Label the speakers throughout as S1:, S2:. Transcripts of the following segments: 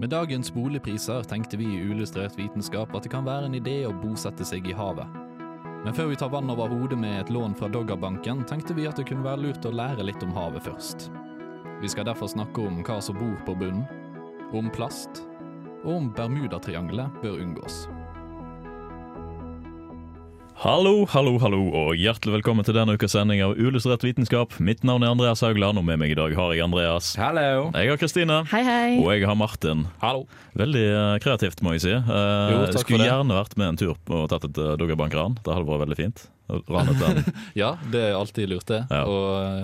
S1: Med dagens boligpriser tenkte vi i Uillustrert vitenskap at det kan være en idé å bosette seg i havet. Men før vi tar vann over hodet med et lån fra Doggerbanken, tenkte vi at det kunne være lurt å lære litt om havet først. Vi skal derfor snakke om hva som bor på bunnen, om plast, og om Bermudatriangelet bør unngås.
S2: Hallo, hallo, hallo, og hjertelig velkommen til denne ukas sending av Uillustrert vitenskap. Mitt navn er Andreas Haugland, og med meg i dag har jeg Andreas.
S1: Hallo!
S2: Jeg har Kristine.
S3: Hei, hei.
S2: Og jeg har Martin.
S1: Hallo.
S2: Veldig eh, kreativt, må jeg si. Eh,
S1: takk for
S2: skulle
S1: det.
S2: gjerne vært med en tur og tatt et eh, Doggerbank-ran. Det hadde vært veldig fint. Ranet den.
S1: Ja, det er alltid lurt, det.
S2: Ja.
S1: Å eh,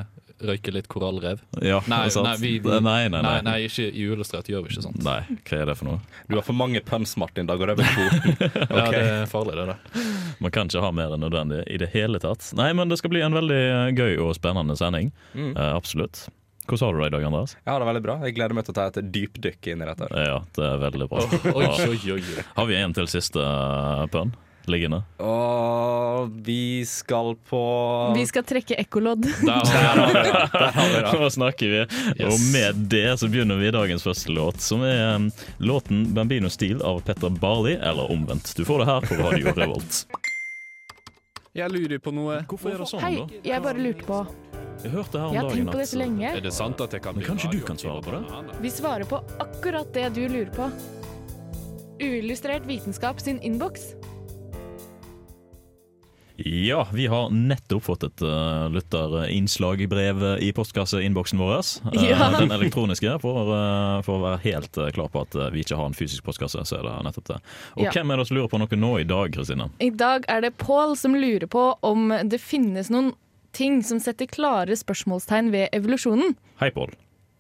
S1: røyke litt korallrev.
S2: Ja,
S1: Nei,
S2: sant?
S1: nei, vi-
S2: nei, nei, nei.
S1: Nei, nei, ikke i Uillustrert gjør vi ikke sånt.
S2: Nei, hva er det for noe?
S4: Du har for mange pumps, Martin. Da går det over kvoten.
S1: Ja, det
S4: Ok.
S1: er farlig, det der.
S2: Man kan ikke ha mer enn nødvendig i det hele tatt. Nei, men det skal bli en veldig eh, gøy og spennende sending.
S4: Mm.
S2: Eh, absolutt. Hvordan har du det i dag, Andreas?
S4: Jeg har det veldig bra. Jeg gleder meg til å ta et dypdykk inn i dette. her.
S2: Eh, Ja, det er veldig bra.
S1: Oi, oi, oi, oi.
S2: Har vi en til siste eh, pønn liggende?
S4: Og vi skal på
S3: Vi skal trekke ekkolodd.
S1: Der har vi det.
S2: Nå snakker vi. Og med det så begynner vi dagens første låt, som er um, låten 'Bambino Steel' av Petter Barli, eller omvendt. Du får det her på Radio Revolt.
S1: Jeg lurer på noe.
S2: Hvorfor er det sånn,
S3: Hei,
S2: da?
S3: jeg bare lurte på.
S2: Jeg hørte her om
S3: Jeg
S2: dagen
S3: har
S2: altså?
S3: tenkt på dette lenge.
S1: det sant at jeg kan
S2: Men bli kanskje du radioaktiv kan svare på det?
S3: Vi svarer på akkurat det du lurer på. Uillustrert vitenskap sin innboks.
S2: Ja, vi har nettopp fått et uh, lytterinnslag i brev eh, i postkasseinnboksen vår. Eh,
S3: Ja.
S2: Den elektroniske, for, eh, for å være helt eh, klar på at eh, vi ikke har en fysisk postkasse. så er det nettopp det. Og
S3: Ja.
S2: hvem er det som lurer på noe nå i dag, Kristine?
S3: I dag er det Pål som lurer på om det finnes noen ting som setter klare spørsmålstegn ved evolusjonen.
S2: Hei, Pål.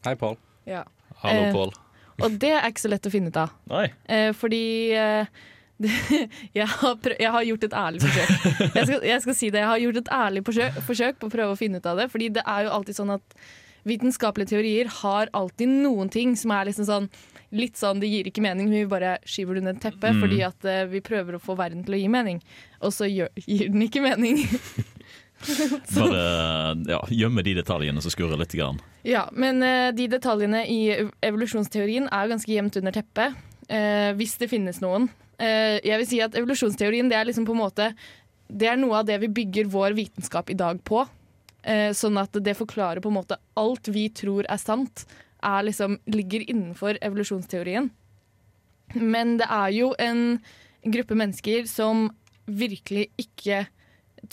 S4: Hei, Pål.
S3: Ja.
S1: Hallo,
S3: Eh,
S1: Pål.
S3: Og det er ikke så lett å finne ut av.
S2: Nei.
S3: Eh, fordi eh, jeg, har prø- jeg har gjort et ærlig forsøk. Jeg skal, jeg skal si det, jeg har gjort et ærlig forsøk, forsøk på å prøve å finne ut av det. Fordi det er jo alltid sånn at vitenskapelige teorier har alltid noen ting som er liksom sånn Litt sånn, Det gir ikke mening, men vi bare skyver det under teppet fordi at eh, vi prøver å få verden til å gi mening. Og så gjør, gir den ikke mening.
S2: Bare eh, ja, gjemme de detaljene som skurrer litt. Grann.
S3: Ja, men eh, de detaljene i ev- evolusjonsteorien er jo ganske gjemt under teppet, eh, hvis det finnes noen. Eh, jeg vil si at evolusjonsteorien det er liksom på en måte Det er noe av det vi bygger vår vitenskap i dag på. Eh, sånn at det forklarer på en måte alt vi tror er sant, er liksom, ligger innenfor evolusjonsteorien. Men det er jo en gruppe mennesker som virkelig ikke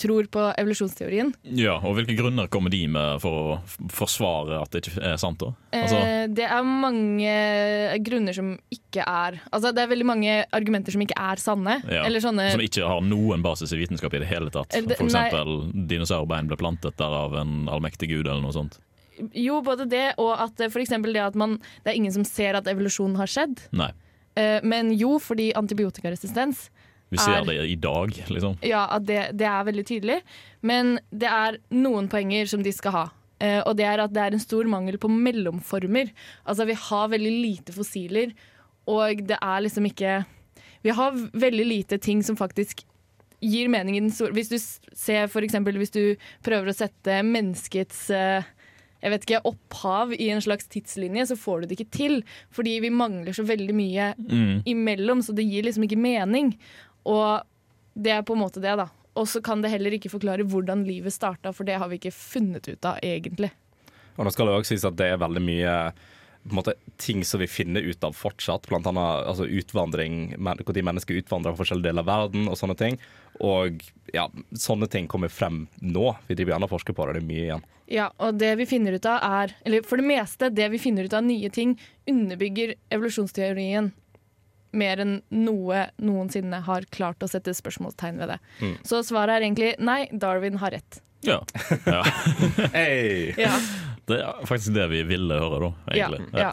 S3: tror på evolusjonsteorien.
S2: Ja, og Hvilke grunner kommer de med for å f- forsvare at det ikke er sant? da? Altså,
S3: Eh, det er mange grunner som ikke er Altså det er veldig mange argumenter som ikke er sanne.
S2: Ja,
S3: Eller sånne
S2: som ikke har noen basis i vitenskap i det hele tatt.
S3: Eh, det-
S2: For eksempel dinosaurbein ble plantet der av en allmektig gud eller noe sånt.
S3: Jo, både det og at eh, for eksempel det at man Det er ingen som ser at evolusjon har skjedd.
S2: Nei,
S3: Eh, men jo, fordi antibiotikaresistens
S2: vi ser
S3: Er-
S2: det i dag, liksom.
S3: Ja, at det, det er veldig tydelig. Men det er noen poenger som de skal ha. Eh, og det er at det er en stor mangel på mellomformer. Altså vi har veldig lite fossiler, og det er liksom ikke Vi har veldig lite ting som faktisk gir mening i den store Hvis du s- ser for eksempel hvis du prøver å sette menneskets eh, jeg vet ikke, opphav i en slags tidslinje, så får du det ikke til. Fordi vi mangler så veldig mye imellom, så det gir liksom ikke mening. Og det er på en måte det, da. Og så kan det heller ikke forklare hvordan livet starta, for det har vi ikke funnet ut av, egentlig.
S4: Og nå skal det også sies at det er veldig mye på en måte, ting som vi finner ut av fortsatt. Blant annet altså, utvandring, men- hvor de mennesker utvandrer fra forskjellige deler av verden og sånne ting. Og ja, sånne ting kommer frem nå. Vi driver gjerne og forsker på det, det er mye igjen.
S3: Ja, og det vi finner ut av er Eller for det meste, det vi finner ut av nye ting, underbygger evolusjonsteorien mer enn noe noensinne har klart å sette spørsmålstegn ved det. Så svaret er egentlig nei, Darwin har rett.
S2: Ja. ja.
S4: Hey!
S3: Ja,
S2: Det er faktisk det vi ville høre, da.
S3: ja,
S2: egentlig.
S3: ja.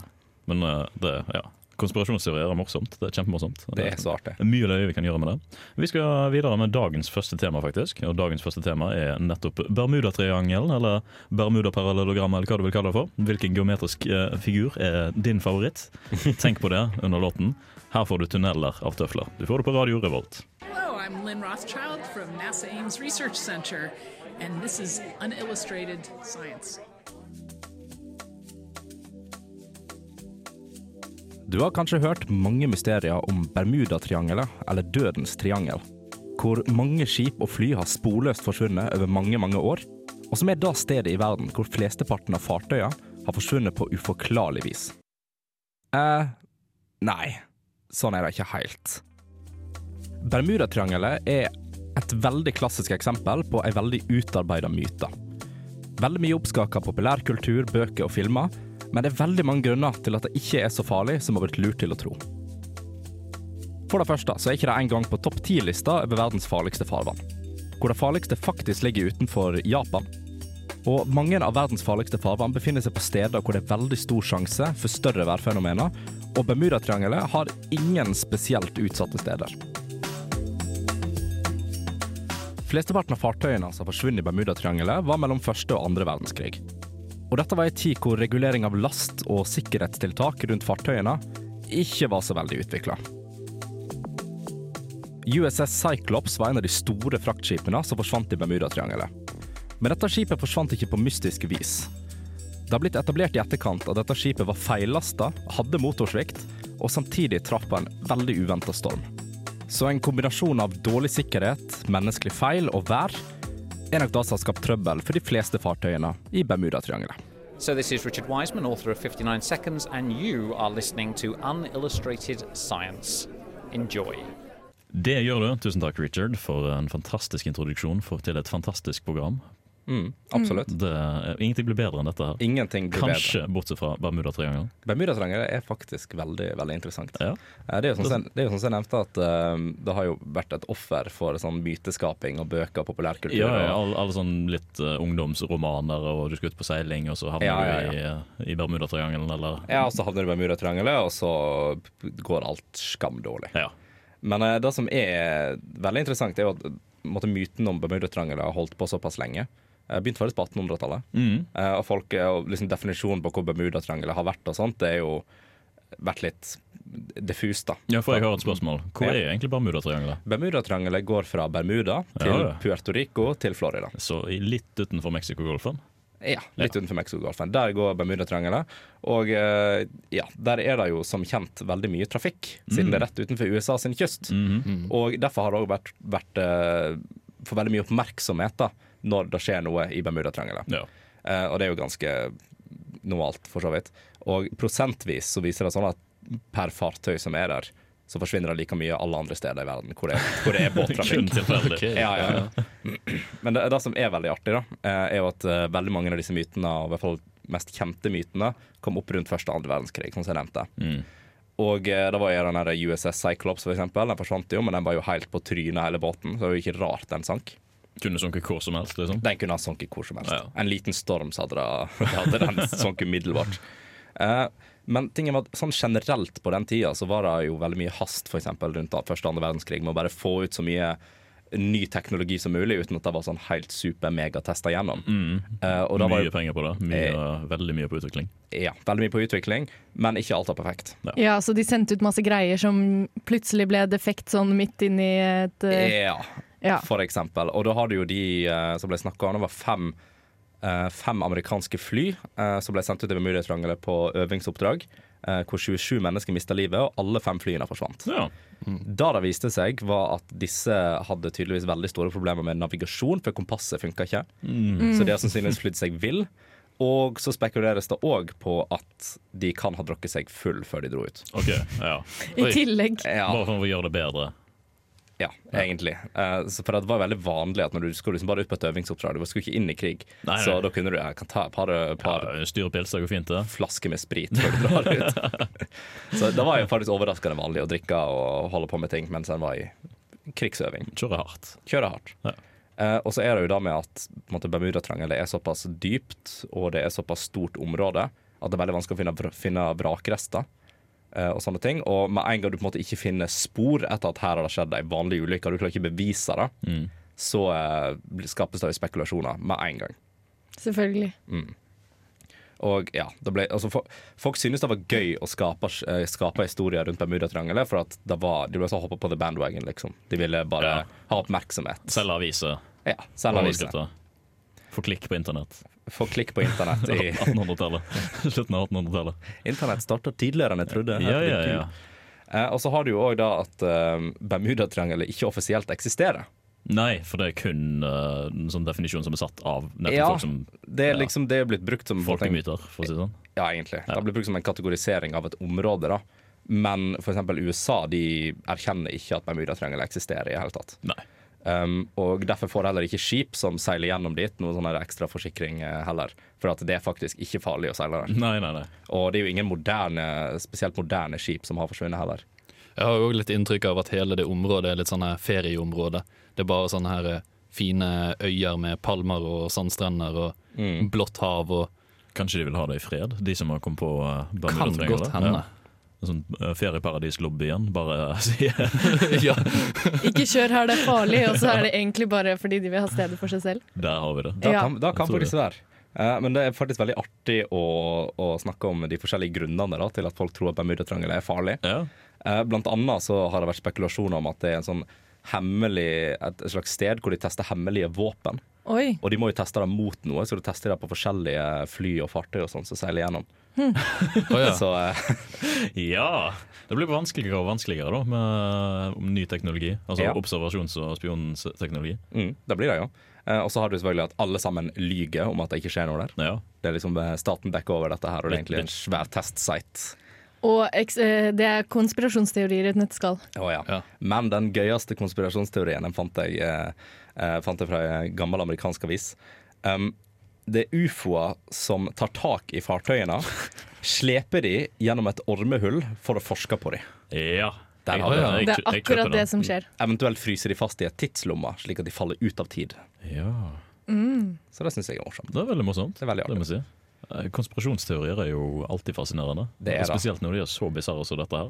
S2: Men eh, det, ja. konspirasjonsteorier er morsomt. Det er kjempemorsomt.
S4: Det er så artig.
S2: Det er Mye løye vi kan gjøre med det. Vi skal videre med dagens første tema, faktisk. Og dagens første tema er nettopp Bermudatriangelen, eller Bermudaparallellogrammet, eller hva du vil kalle det for. Hvilken geometrisk eh, figur er din favoritt? Tenk på det under låten. Her får du 'Tunneler av tøfler'. Du får det på Radio Revolt.
S5: Hello, I'm Lynn Rothschild from NASA Ames Research Center, and this is Unillustrated Science.
S4: Du har kanskje hørt mange mysterier om Bermudatriangelet, eller Dødens triangel, hvor mange skip og fly har sporløst forsvunnet over mange, mange år, og som er da stedet i verden hvor flesteparten av fartøyene har forsvunnet på uforklarlig vis. eh, nei, sånn er det ikke helt. Bermudatriangelet er et veldig klassisk eksempel på en veldig utarbeida myte. Veldig mye oppskaka populærkultur, bøker og filmer, men det er veldig mange grunner til at det ikke er så farlig som har blitt lurt til å tro. For det første så er ikke det engang på topp ti-lista over verdens farligste farvann. Hvor det farligste faktisk ligger utenfor Japan. Og mange av verdens farligste farvann befinner seg på steder hvor det er veldig stor sjanse for større værfenomener, og Bermudatriangelet har ingen spesielt utsatte steder. Flesteparten av fartøyene som har forsvunnet i Bermudatriangelet, var mellom første og andre verdenskrig. Og dette var en tid hvor regulering av last og sikkerhetstiltak rundt fartøyene ikke var så veldig utvikla. USS Cyclops var en av de store fraktskipene som forsvant i Bermudatriangelet. Men dette skipet forsvant ikke på mystisk vis. Det har blitt etablert i etterkant at dette skipet var feillasta, hadde motorsvikt og samtidig traff på en veldig uventa storm. Så en kombinasjon av dårlig sikkerhet, menneskelig feil og vær er nok det som har skapt trøbbel for de fleste fartøyene i Bermudatriangelet.
S6: So, this is Richard Wiseman, author of 59 Seconds, and you are listening to Unillustrated Science. Enjoy.
S2: Det gjør du. Tusen takk, Richard, for en fantastisk introduksjon for, til et fantastisk program.
S4: Absolutt.
S2: Det, ingenting blir bedre enn dette her.
S4: Ingenting blir
S2: Mm. Kanskje bortsett fra Bermudatriangelen.
S4: bedre. Bermudatriangelet er faktisk veldig veldig interessant.
S2: Ja.
S4: Eh, Det er jo sånn som det er jo sånn som jeg nevnte, at eh, det har jo vært et offer for sånn myteskaping og bøker og populærkultur.
S2: Ja, ja,
S4: og-
S2: alle, alle sånn litt eh, ungdomsromaner, og du skal ut på seiling, og så havner
S4: Ja, ja,
S2: du i, eh, i Bermudatriangelen, eller
S4: ja, og så havner du i Bermudatriangelet, og så går alt skamdårlig.
S2: Ja.
S4: Men eh, det som er veldig interessant, er jo at eh, på en måte, myten om Bermudatriangelet har holdt på såpass lenge. Eh, Begynte faktisk på 1800-tallet.
S2: Mm.
S4: Eh, Og folk, eh, og liksom definisjonen på hvor Bermudatriangelet har vært, og sånt, det er jo vært litt diffust, da.
S2: ja, for jeg har et spørsmål. Hvor
S4: Ja.
S2: er egentlig Bermudatriangelet?
S4: Bermudatriangelet går fra Bermuda til
S2: Ja, ja.
S4: Puerto Rico til Florida.
S2: Så i- litt utenfor Mexicogolfen.
S4: Ja, litt utenfor Mexicogolfen. Der går Bermudatriangelet. Og eh, ja, der er det jo som kjent veldig mye trafikk, siden det er rett utenfor USA sin kyst. Og derfor har det òg vært, vært eh, for veldig mye oppmerksomhet da, når det skjer noe i Bermudatriangelet.
S2: Ja.
S4: Eh, og det er jo ganske normalt, for så vidt. Og prosentvis så viser det sånn at per fartøy som er der, så forsvinner det like mye alle andre steder i verden hvor det, hvor det er båttrafikk.
S2: Kun tilfeldig.
S4: Ja, ja, ja. Men det, det som er veldig artig, da, eh, er jo at eh, veldig mange av disse mytene, og i hvert fall mest kjente mytene, kom opp rundt første og andre verdenskrig, sånn som jeg nevnte.
S2: Mm.
S4: Og eh, det var jo den her USS Cyclops, for eksempel. Den forsvant jo, men den var jo helt på trynet, hele båten. Så det var jo ikke rart den sank.
S2: Kunne sunket hvor som helst, liksom.
S4: Den kunne ha sunket hvor som helst.
S2: Ja.
S4: En liten storm, så hadde, det, hadde den sunket umiddelbart. Eh, men tingen var at sånn generelt på den tida så var det jo veldig mye hast for eksempel, rundt da første og andre verdenskrig med å bare få ut så mye ny teknologi som mulig uten at det var sånn helt super-megatesta gjennom.
S2: Mm.
S4: Eh, og da var
S2: Mye
S4: jo Eh.
S2: penger på det. Mye, veldig mye på utvikling.
S4: ja, veldig mye på utvikling, men ikke alt er perfekt.
S3: Ja, så de sendte ut masse greier som plutselig ble defekt sånn midt inni et eh,
S4: Ja.
S3: Ja.
S4: for eksempel. Og da har du jo de eh, som ble snakka om, det var fem, eh, fem amerikanske fly eh, som ble sendt ut i Bermudatriangelet på øvingsoppdrag. eh, hvor 27 mennesker mista livet, og alle fem flyene forsvant.
S2: Ja.
S4: Da det viste seg, var at disse hadde tydeligvis veldig store problemer med navigasjon, for kompasset funka ikke. Så de har sannsynligvis flydd seg vill. Og så spekuleres det òg på at de kan ha drukket seg full før de dro ut.
S2: OK. Ja.
S3: I
S2: Oi.
S3: tillegg.
S4: Ja.
S2: Bare for å gjøre det bedre.
S4: Ja, egentlig. Eh, så for det var veldig vanlig at når du skulle liksom bare ut på et øvingsoppdrag, du skulle ikke inn i krig,
S2: Nei, nei.
S4: så da kunne du jeg kan ta et par, par
S2: Ja, Styre pils, det går fint, det.
S4: flasker med sprit før du drar ut. så det var jo faktisk overraskende vanlig å drikke og holde på med ting mens en var i krigsøving.
S2: Kjøre hardt.
S4: Kjøre hardt.
S2: Ja.
S4: Eh, og så er det jo da med at på en måte, Bermudatrangelet er såpass dypt, og det er såpass stort område, at det er veldig vanskelig å finne, vr- finne vrakrester eh, og sånne ting. Og med en gang du på en måte ikke finner spor etter at her har det skjedd ei vanlig ulykke, og du klarer ikke bevise det,
S2: Mm.
S4: så eh, blir- skapes det jo spekulasjoner med en gang.
S3: Selvfølgelig.
S4: Og ja, det ble, altså, fo- Folk syntes det var gøy å skape, eh, skape historier rundt Bermudatrangelet, for at det var, de ble så hoppa på the bandwagon, liksom. De ville bare
S2: Ja.
S4: ha oppmerksomhet.
S2: Selge aviser.
S4: Ja, selv aviser.
S2: overskrifter. For klikk på internett.
S4: Få klikk på internett. i
S2: 1800-tallet. Slutten av 1800-tallet.
S4: Internett starta tidligere enn jeg trodde.
S2: Ja, ja,
S4: Herregud.
S2: ja.
S4: Eh, og så har du jo òg da at eh, Bermudatriangelet ikke offisielt eksisterer.
S2: Nei, for det er kun eh, en sånn definisjon som er satt av nettopp
S4: Ja,
S2: folk som
S4: Det er
S2: Ja.
S4: liksom det er blitt brukt som
S2: folkemyter, for å si det sånn.
S4: Ja, egentlig. Det har blitt brukt som en kategorisering av et område, da. Men f.eks. USA de erkjenner ikke at Bermudatriangelet eksisterer i det hele tatt.
S2: Nei.
S4: Um, og derfor får heller ikke skip som seiler gjennom dit, noen sånn her ekstra forsikring eh, heller. For at det er faktisk ikke farlig å seile der.
S2: Nei, nei, nei.
S4: Og det er jo ingen moderne, spesielt moderne skip som har forsvunnet heller.
S1: Jeg har jo også litt inntrykk av at hele det området er litt sånn her ferieområde. Det er bare sånne her eh, fine øyer med palmer og sandstrender og blått hav og
S2: Kanskje de vil ha det i fred, de som har kommet på uh,
S1: Kan godt hende.
S2: En Sånn eh, ferieparadis-lobby igjen, bare eh, sier
S1: Ja.
S3: Ikke kjør her, det er farlig, og så er det egentlig bare fordi de vil ha stedet for seg selv.
S2: Der har vi det.
S4: Da
S3: Ja.
S4: kan, da kan
S2: Jeg tror
S4: faktisk være. Eh, men det er faktisk veldig artig å, å snakke om de forskjellige grunnene da, til at folk tror at Bermudatriangelet er farlig.
S2: Ja.
S4: Eh, Blant annet så har det vært spekulasjoner om at det er en sånn hemmelig, et slags sted hvor de tester hemmelige våpen.
S3: Oi.
S4: Og de må jo teste det mot noe, så de tester det på forskjellige fly og fartøy og sånn som seiler gjennom.
S1: Å ja.
S4: Så eh,
S2: ja! Det blir vanskeligere og vanskeligere da, med eh, ny teknologi. Altså
S4: Ja.
S2: observasjons- og spionteknologi.
S4: mm, det blir det jo. Eh, Og så har du selvfølgelig at alle sammen lyger om at det ikke skjer noe der.
S2: Ja.
S4: Det er liksom eh, Staten dekker over dette her, og det er egentlig en svær testsite.
S3: Og eks eh, det er konspirasjonsteorier i et nøtteskall.
S4: Å ja.
S1: Ja.
S4: Men den gøyeste konspirasjonsteorien den fant jeg, eh, eh, fant jeg fra en gammel amerikansk avis. Um, det er ufoer som tar tak i fartøyene, sleper de gjennom et ormehull for å forske på dem.
S2: ja.
S4: Der
S2: Jeg-
S4: har vi det.
S2: jeg-
S3: Det
S2: jeg-
S3: er
S2: jeg kjøper
S3: akkurat det
S2: den.
S3: som skjer.
S4: Eventuelt fryser de fast i et tidslomme, slik at de faller ut av tid.
S2: Ja.
S4: Så det syns jeg er morsomt.
S2: Det er veldig morsomt.
S4: Det er veldig
S2: det må jeg si. Eh, Konspirasjonsteorier er jo alltid fascinerende.
S4: Det er det.
S2: Spesielt når de er så bisarre som dette her.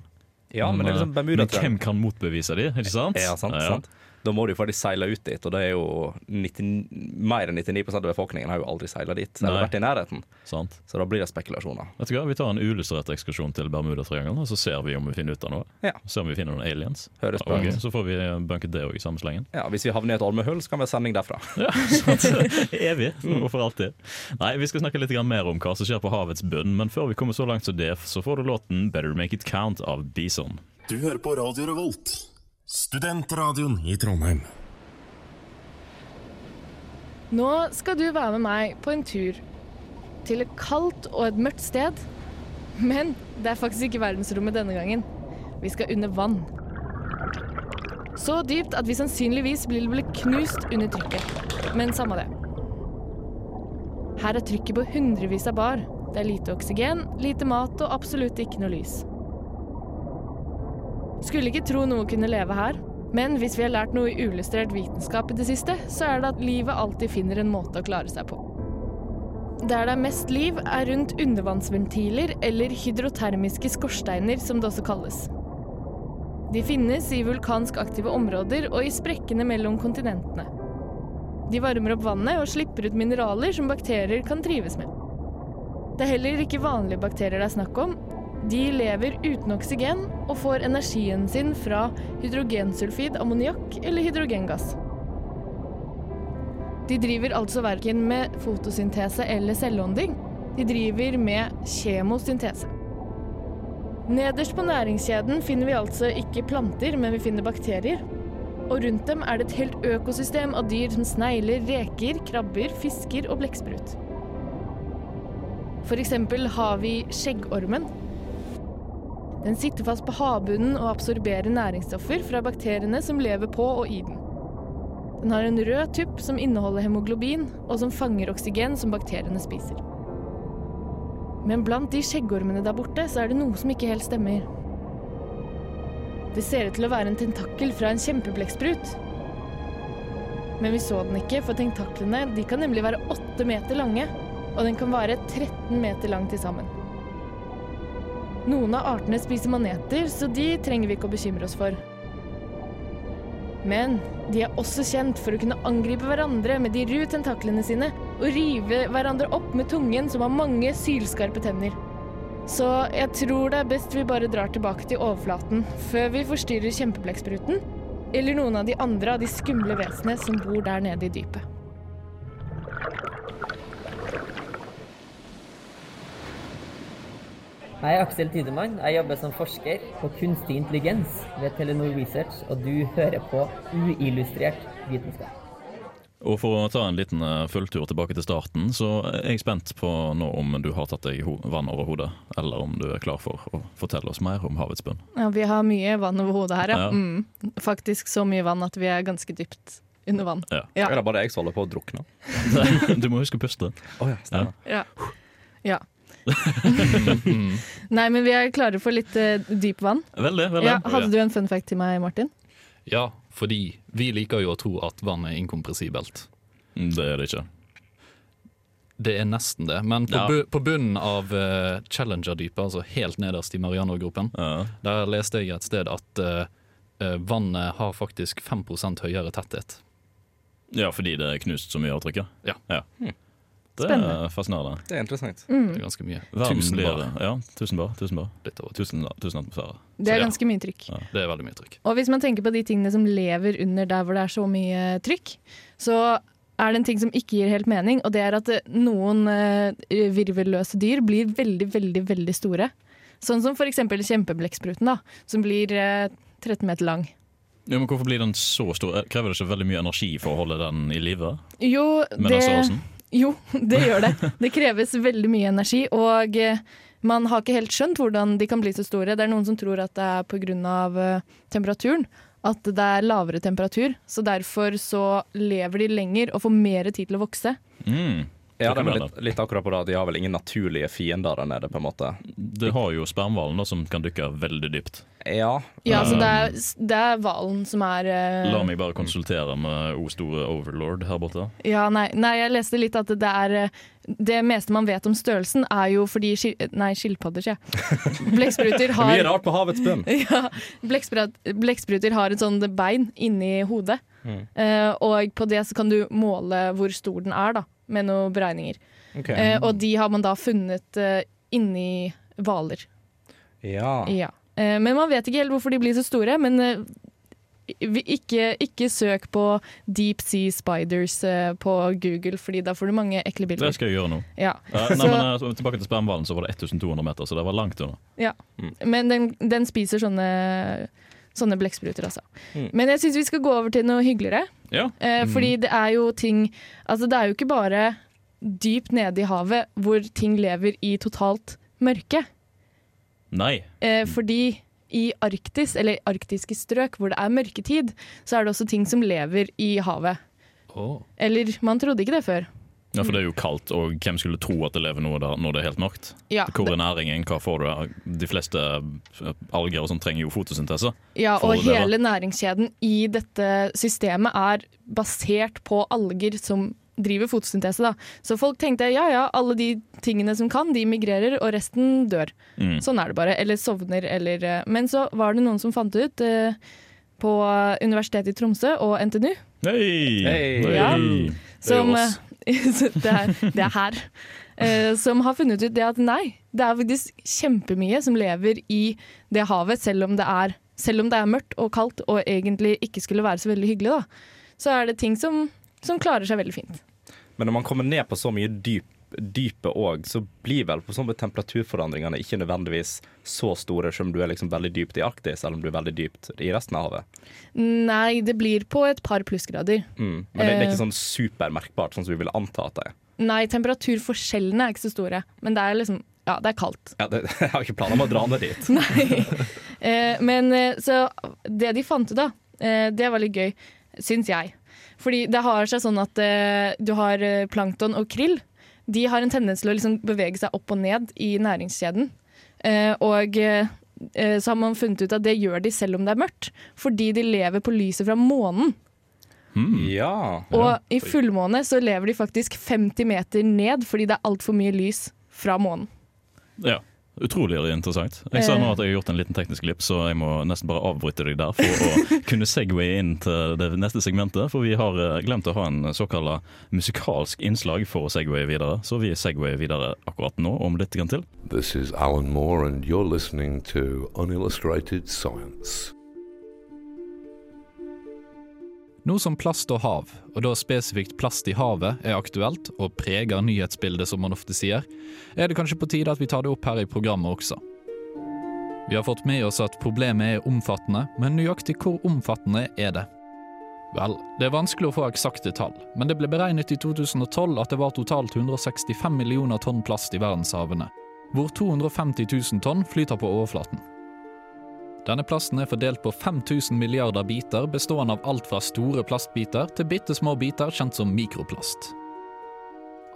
S4: Ja, men det er liksom
S2: eh, men hvem
S4: Bermudatriangelet.
S2: kan motbevise de, ikke sant?
S4: Ja, sant,
S2: Ja.
S4: sant. Da må du jo faktisk seile ut dit, og det er jo 90, mer enn 99 av befolkningen har jo aldri seila dit. Så,
S2: Nei.
S4: vært i nærheten.
S2: sant.
S4: så da blir det spekulasjoner.
S2: Vet du hva, Vi tar en uillustrert ekskursjon til Bermudatriangelen, og så ser vi om vi finner ut av noe.
S4: Ja.
S2: Ser om vi finner noen aliens.
S4: Høres
S2: Ja,
S4: bra
S2: ok,
S4: ut.
S2: Så får vi bunket det òg i samme slengen.
S4: Ja, hvis vi havner i et ormehull, så kan vi ha sending derfra.
S2: Evig
S1: Mm.
S2: og for alltid. Nei, Vi skal snakke litt grann mer om hva som skjer på havets bunn, men før vi kommer så langt som det, så får du låten 'Better Make It Count' av Bison.
S7: Du hører på Radio Revolt, studentradioen i Trondheim.
S3: Nå skal du være med meg på en tur til et kaldt og et mørkt sted. Men det er faktisk ikke verdensrommet denne gangen. Vi skal under vann. Så dypt at vi sannsynligvis vil bli knust under trykket. Men samme det. Her er trykket på hundrevis av bar. Det er lite oksygen, lite mat og absolutt ikke noe lys. Skulle ikke tro noe kunne leve her, men hvis vi har lært noe i uillustrert vitenskap i det siste, så er det at livet alltid finner en måte å klare seg på. Der det er mest liv, er rundt undervannsventiler eller hydrotermiske skorsteiner, som det også kalles. De finnes i vulkansk aktive områder og i sprekkene mellom kontinentene. De varmer opp vannet og slipper ut mineraler som bakterier kan trives med. Det er heller ikke vanlige bakterier det er snakk om, de lever uten oksygen og får energien sin fra hydrogensulfid, ammoniakk eller hydrogengass. De driver altså verken med fotosyntese eller selvånding. De driver med kjemosyntese. Nederst på næringskjeden finner vi altså ikke planter, men vi finner bakterier. Og rundt dem er det et helt økosystem av dyr som snegler, reker, krabber, fisker og blekksprut. For eksempel har vi skjeggormen, den sitter fast på havbunnen og absorberer næringsstoffer fra bakteriene som lever på og i den. Den har en rød tupp som inneholder hemoglobin, og som fanger oksygen som bakteriene spiser. Men blant de skjeggormene der borte, så er det noe som ikke helt stemmer. Det ser ut til å være en tentakkel fra en kjempeblekksprut. Men vi så den ikke, for tentaklene de kan nemlig være åtte meter lange, og den kan være 13 meter lang til sammen. Noen av artene spiser maneter, så de trenger vi ikke å bekymre oss for. Men de er også kjent for å kunne angripe hverandre med de ru tentaklene sine og rive hverandre opp med tungen, som har mange sylskarpe tenner. Så jeg tror det er best vi bare drar tilbake til overflaten før vi forstyrrer kjempeblekkspruten eller noen av de andre av de skumle vesenene som bor der nede i dypet.
S8: Jeg er Aksel Tidemann. Jeg jobber som forsker på kunstig intelligens ved Telenor Research, og du hører på uillustrert vitenskap.
S2: Og for å ta en liten eh, fulltur tilbake til starten, så er jeg spent på nå om du har tatt deg ho vann over hodet, eller om du er klar for å fortelle oss mer om havets bunn.
S3: Ja, vi har mye vann over hodet her, ja.
S2: Ja.
S3: Mm. Faktisk så mye vann at vi er ganske dypt under vann.
S2: Ja.
S3: Ja.
S4: Er det bare jeg som holder på å drukne?
S2: Du må huske å puste.
S4: Oh, ja, stemmer.
S3: Ja. ja. Nei, men vi er klare for litt eh, dyp vann.
S2: Veldig, veldig.
S3: Ja, hadde du en fun fact til meg, Martin?
S1: Ja, fordi vi liker jo å tro at vann er inkompressibelt.
S2: Mm, Det er det ikke.
S1: Det er nesten det, men på,
S2: Ja.
S1: bu på bunnen av eh, Challenger-dypet, altså helt nederst i Marianergropen,
S2: Ja.
S1: der leste jeg et sted at eh, eh, vannet har faktisk 5 høyere tetthet.
S2: ja, fordi det er knust så mye av trykket.
S1: Ja.
S2: Det
S3: Hm. Spennende.
S2: er fascinerende.
S4: Det er interessant.
S3: Mm.
S1: Det er ganske mye.
S2: Verden
S1: Tusen
S2: blir
S1: bar.
S2: Ja, tusen bar. Tusen bar.
S1: Litt over tusen.
S2: Tusen, tusen atmosfærer.
S3: Det er
S1: Ja.
S3: ganske mye trykk.
S1: Det er veldig mye trykk.
S3: Og hvis man tenker på de tingene som lever under der hvor det er så mye trykk, så er det en ting som ikke gir helt mening, og det er at eh, noen eh, virvelløse dyr blir veldig, veldig, veldig store. Sånn som for eksempel kjempeblekkspruten, da, som blir eh, 13 meter lang.
S2: Ja, men hvorfor blir den så stor? Eh, Krever det ikke veldig mye energi for å holde den i live?
S3: Jo,
S2: Med den
S3: det-
S2: størrelsen?
S3: Jo, det gjør det. Det kreves veldig mye energi, og eh, man har ikke helt skjønt hvordan de kan bli så store. Det er noen som tror at det er pga. eh, temperaturen, at det er lavere temperatur. Så derfor så lever de lenger og får mer tid til å vokse.
S2: Mm. Så
S4: Ja, det
S2: kan
S4: er vel
S2: det
S4: litt, litt akkurat på det at de har vel ingen naturlige fiender der nede, på en måte.
S2: Det har jo spermhvalen da, som kan dykke veldig dypt.
S4: Ja,
S3: Ja, så det er, det er hvalen som er eh,
S2: La meg bare konsultere med O store Overlord her borte.
S3: Ja, nei, nei, jeg leste litt at det er eh, Det meste man vet om størrelsen, er jo fordi skil, Nei, skilpadder, sier jeg. Blekkspruter har
S4: mye rart på havets bunn.
S3: Ja, blekksprat- Blekkspruter har et sånt bein inni hodet. Eh, og på det så kan du måle hvor stor den er, da, med noen beregninger. Eh, og de har man da funnet eh, inni hvaler.
S4: Ja.
S3: Ja. Eh, men man vet ikke helt hvorfor de blir så store. Men eh, vi- ikke, ikke søk på deep sea spiders eh, på Google, Fordi da får du mange ekle
S2: Det
S3: bilder.
S2: skal jeg gjøre nå.
S3: Ja.
S2: Eh,
S3: Så-
S2: Nei, men eh, Tilbake til spermhvalen, så var det 1200 meter, så det var langt unna.
S3: Ja. Men den, den spiser sånne, sånne blekkspruter, altså. Men jeg syns vi skal gå over til noe hyggeligere.
S2: Mm. Ja.
S3: Eh, Fordi det er jo ting Altså det er jo ikke bare dypt nede i havet hvor ting lever i totalt mørke.
S2: Nei.
S3: Eh, fordi i Arktis, eller arktiske strøk hvor det er mørketid, så er det også ting som lever i havet.
S1: Åh.
S3: Eller man trodde ikke det før.
S2: Ja, For det er jo kaldt, og hvem skulle tro at det lever noe der når det er helt mørkt?
S3: Ja,
S2: Hvor er næringen? Hva får du? av- De fleste alger og sånn trenger jo fotosyntese.
S3: ja
S2: for
S3: og
S2: det, da.
S3: hele næringskjeden i dette systemet er basert på alger som driver fotosyntese. Da. Så folk tenkte ja ja, alle de tingene som kan, de migrerer, og resten dør.
S2: Mm.
S3: Sånn er det bare. Eller sovner, eller eh, Men så var det noen som fant det ut eh, på eh, Universitetet i Tromsø og NTNU.
S2: Hei!
S4: Hei!
S2: Det
S3: Ja.
S2: er jo
S3: Som,
S2: oss.
S3: eh, det, er, det er her. Eh, som har funnet ut det at nei, det er faktisk kjempemye som lever i det havet, selv om det er, selv om det er mørkt og kaldt og egentlig ikke skulle være så veldig hyggelig, da. Så er det ting som, som klarer seg veldig fint.
S4: Men når man kommer ned på så mye dyp, dype òg, så blir vel på sånne temperaturforandringene ikke nødvendigvis så store som om du er liksom veldig dypt i Arktis, eller om du er veldig dypt i resten av havet.
S3: Nei, det blir på et par plussgrader.
S4: Mm. Men det, det er
S3: Eh.
S4: ikke sånn supermerkbart, sånn som vi ville anta at det er.
S3: Nei, temperaturforskjellene er ikke så store, men det er liksom Ja, det er kaldt.
S4: Ja, det, jeg har ikke planer om å dra ned dit.
S3: Nei. Eh, men eh, så det de fant ut, da, eh, det var litt gøy, syns jeg. Fordi det har seg sånn at eh, du har eh, plankton og krill. De har en tendens til å liksom bevege seg opp og ned i næringskjeden. Eh, og eh, eh, så har man funnet ut at det gjør de selv om det er mørkt, fordi de lever på lyset fra månen.
S4: Ja.
S3: Og i fullmåne så lever de faktisk 50 meter ned fordi det er altfor mye lys fra månen.
S2: Ja. Utrolig interessant. Jeg sa
S3: Eh.
S2: nå at jeg har gjort en liten teknisk glipp, så jeg må nesten bare avbryte deg der for å kunne segway inn til det neste segmentet, for vi har eh, glemt å ha en såkalla musikalsk innslag for å segwaye videre, så vi segwayer videre akkurat nå, om litt grann til.
S9: This is Alan Moore, and you're listening to Unillustrated Science.
S1: Nå som plast og hav, og da spesifikt plast i havet, er aktuelt og preger nyhetsbildet, som man ofte sier, er det kanskje på tide at vi tar det opp her i programmet også. Vi har fått med oss at problemet er omfattende, men nøyaktig hvor omfattende er det? Vel, det er vanskelig å få eksakte tall, men det ble beregnet i 2012 at det var totalt 165 millioner tonn plast i verdenshavene, hvor 250 000 tonn flyter på overflaten. Denne plasten er fordelt på 5000 milliarder biter, bestående av alt fra store plastbiter til bitte små biter kjent som mikroplast.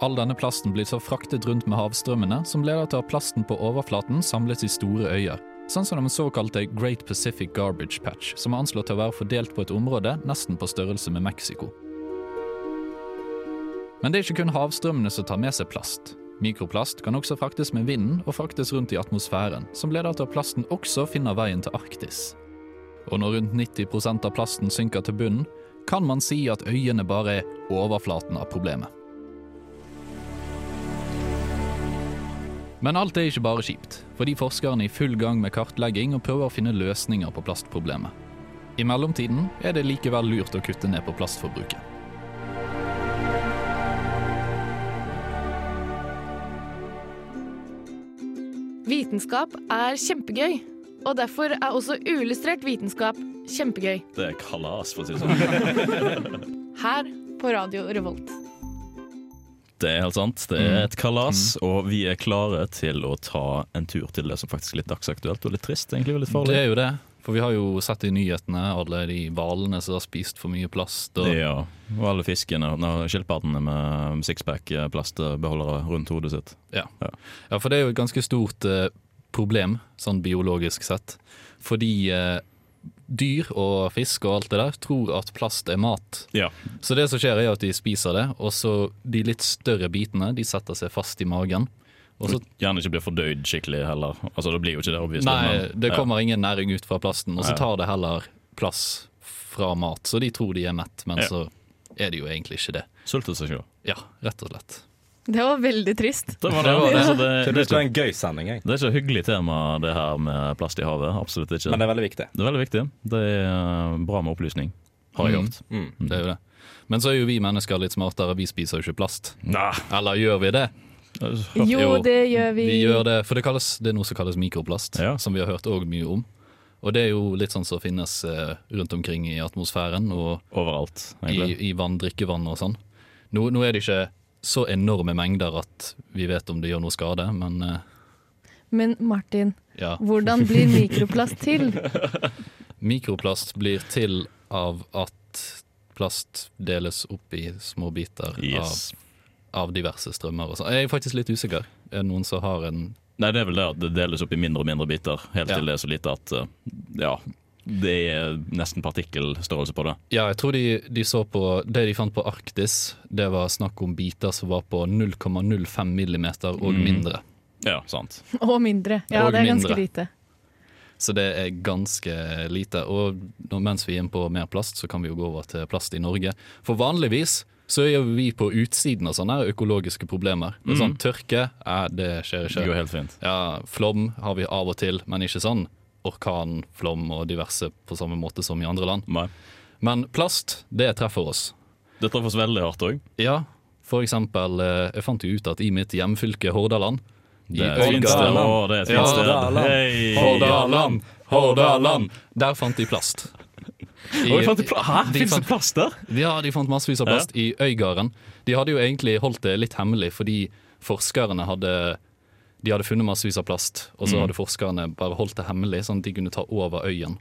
S1: All denne plasten blir så fraktet rundt med havstrømmene, som leder til at plasten på overflaten samles i store øyer, sånn som den såkalte Great Pacific Garbage Patch, som er anslått til å være fordelt på et område nesten på størrelse med Mexico. Men det er ikke kun havstrømmene som tar med seg plast. Mikroplast kan også fraktes med vinden og fraktes rundt i atmosfæren, som leder til at plasten også finner veien til Arktis. Og når rundt 90 av plasten synker til bunnen, kan man si at øyene bare er overflaten av problemet. Men alt er ikke bare kjipt, fordi forskerne er i full gang med kartlegging og prøver å finne løsninger på plastproblemet. I mellomtiden er det likevel lurt å kutte ned på plastforbruket.
S3: Vitenskap er kjempegøy, og derfor er også uillustrert vitenskap kjempegøy.
S2: Det er kalas, for å si det sånn.
S3: Her på Radio Revolt.
S2: Det er helt sant. Det er et kalas, og vi er klare til å ta en tur til det som faktisk er litt dagsaktuelt og litt trist, egentlig, og litt
S1: Det
S2: farlig.
S1: er jo det, for vi har jo sett i nyhetene alle de hvalene som har spist for mye plast. Og
S2: Ja, og alle fiskene og skilpaddene med sixpack-plastbeholdere rundt hodet sitt.
S1: Ja.
S2: Ja.
S1: ja, for det er jo et ganske stort eh, problem, sånn biologisk sett. Fordi eh, dyr og fisk og alt det der tror at plast er mat.
S2: Ja,
S1: Så det som skjer er at de spiser det, og så de litt større bitene de setter seg fast i magen. Og så,
S2: Gjerne ikke blir fordøyd skikkelig heller. Altså, Det blir jo ikke det, obviously.
S1: nei,
S2: men-
S1: det
S2: ja.
S1: kommer ingen næring ut fra plasten, og så
S2: Ja.
S1: tar det heller plass fra mat. Så de tror de er mett, men
S2: Ja.
S1: så er det jo egentlig ikke det.
S2: Sultet seg selv.
S1: Ja, rett og slett.
S3: Det var veldig trist.
S2: Det var
S1: Det
S2: det.
S1: var det.
S2: Altså, det,
S4: Det
S2: det,
S4: blir
S2: er ikke,
S4: en gøy sending, jeg.
S2: det er ikke et hyggelig tema, det her med plast i havet. Absolutt ikke.
S4: men det er veldig viktig.
S2: Det er veldig viktig. Det er eh, bra med opplysning, har jeg
S1: Mm.
S2: hørt.
S1: Det er jo det. Men så er jo vi mennesker litt smartere, vi spiser jo ikke plast.
S2: Nei,
S1: Eller gjør vi det?
S2: hørt.
S3: Jo,
S1: Jo,
S3: det gjør vi.
S1: Vi gjør det, for det, kalles, det er noe som kalles mikroplast,
S2: Ja.
S1: som vi har hørt også mye om. Og det er jo litt sånn som finnes eh, rundt omkring i atmosfæren og
S2: Overalt, egentlig.
S1: i, i vann, drikkevann og sånn. Nå, nå er det ikke så enorme mengder at vi vet om det gjør noe skade, men eh,
S3: Men Martin,
S1: ja.
S3: hvordan blir mikroplast til?
S1: Mikroplast blir til av at plast deles opp i små biter
S2: Yes.
S1: av, av diverse strømmer og sånn. Jeg er faktisk litt usikker. Er det noen som har en
S2: Nei, det er vel det at det deles opp i mindre og mindre biter, helt
S1: Ja.
S2: til det er så lite at eh, ja, det er nesten partikkelstørrelse på det.
S1: Ja, jeg tror de, de så på Det de fant på Arktis, det var snakk om biter som var på 0,05 millimeter
S2: Mm.
S1: og mindre.
S2: Ja, sant.
S3: Og mindre. Ja,
S1: Og
S3: det er ganske
S1: mindre.
S3: lite.
S1: Så det er ganske lite. Og når, mens vi er inne på mer plast, så kan vi jo gå over til plast i Norge. For vanligvis så er jo vi på utsiden av sånne her økologiske problemer. Det er sånn Tørke, ja, det skjer
S2: Mm. Det går
S1: ikke.
S2: helt fint.
S1: Ja, flom har vi av og til, men ikke sånn orkan, flom og diverse på samme måte som i andre land.
S2: Nei.
S1: Men plast, det treffer oss.
S2: Det traff oss veldig hardt òg.
S1: Ja, for eksempel eh, Jeg fant jo ut at i mitt hjemfylke Hordaland i
S2: Det er et fint sted.
S1: Ølgarden-
S2: Å, det er et fint sted.
S4: Hordaland.
S2: Hei.
S1: Hordaland, Hordaland! Der fant de plast. I-
S2: Oi, fant de pla- Hæ?
S1: de
S2: Fins det
S1: fant-
S2: plass der?
S1: Ja, de fant massevis av plast i Øygarden. De hadde jo egentlig holdt det litt hemmelig fordi forskerne hadde de hadde funnet massevis av plast, og
S2: Mm.
S1: så hadde forskerne bare holdt det hemmelig, sånn at de kunne ta over øyen.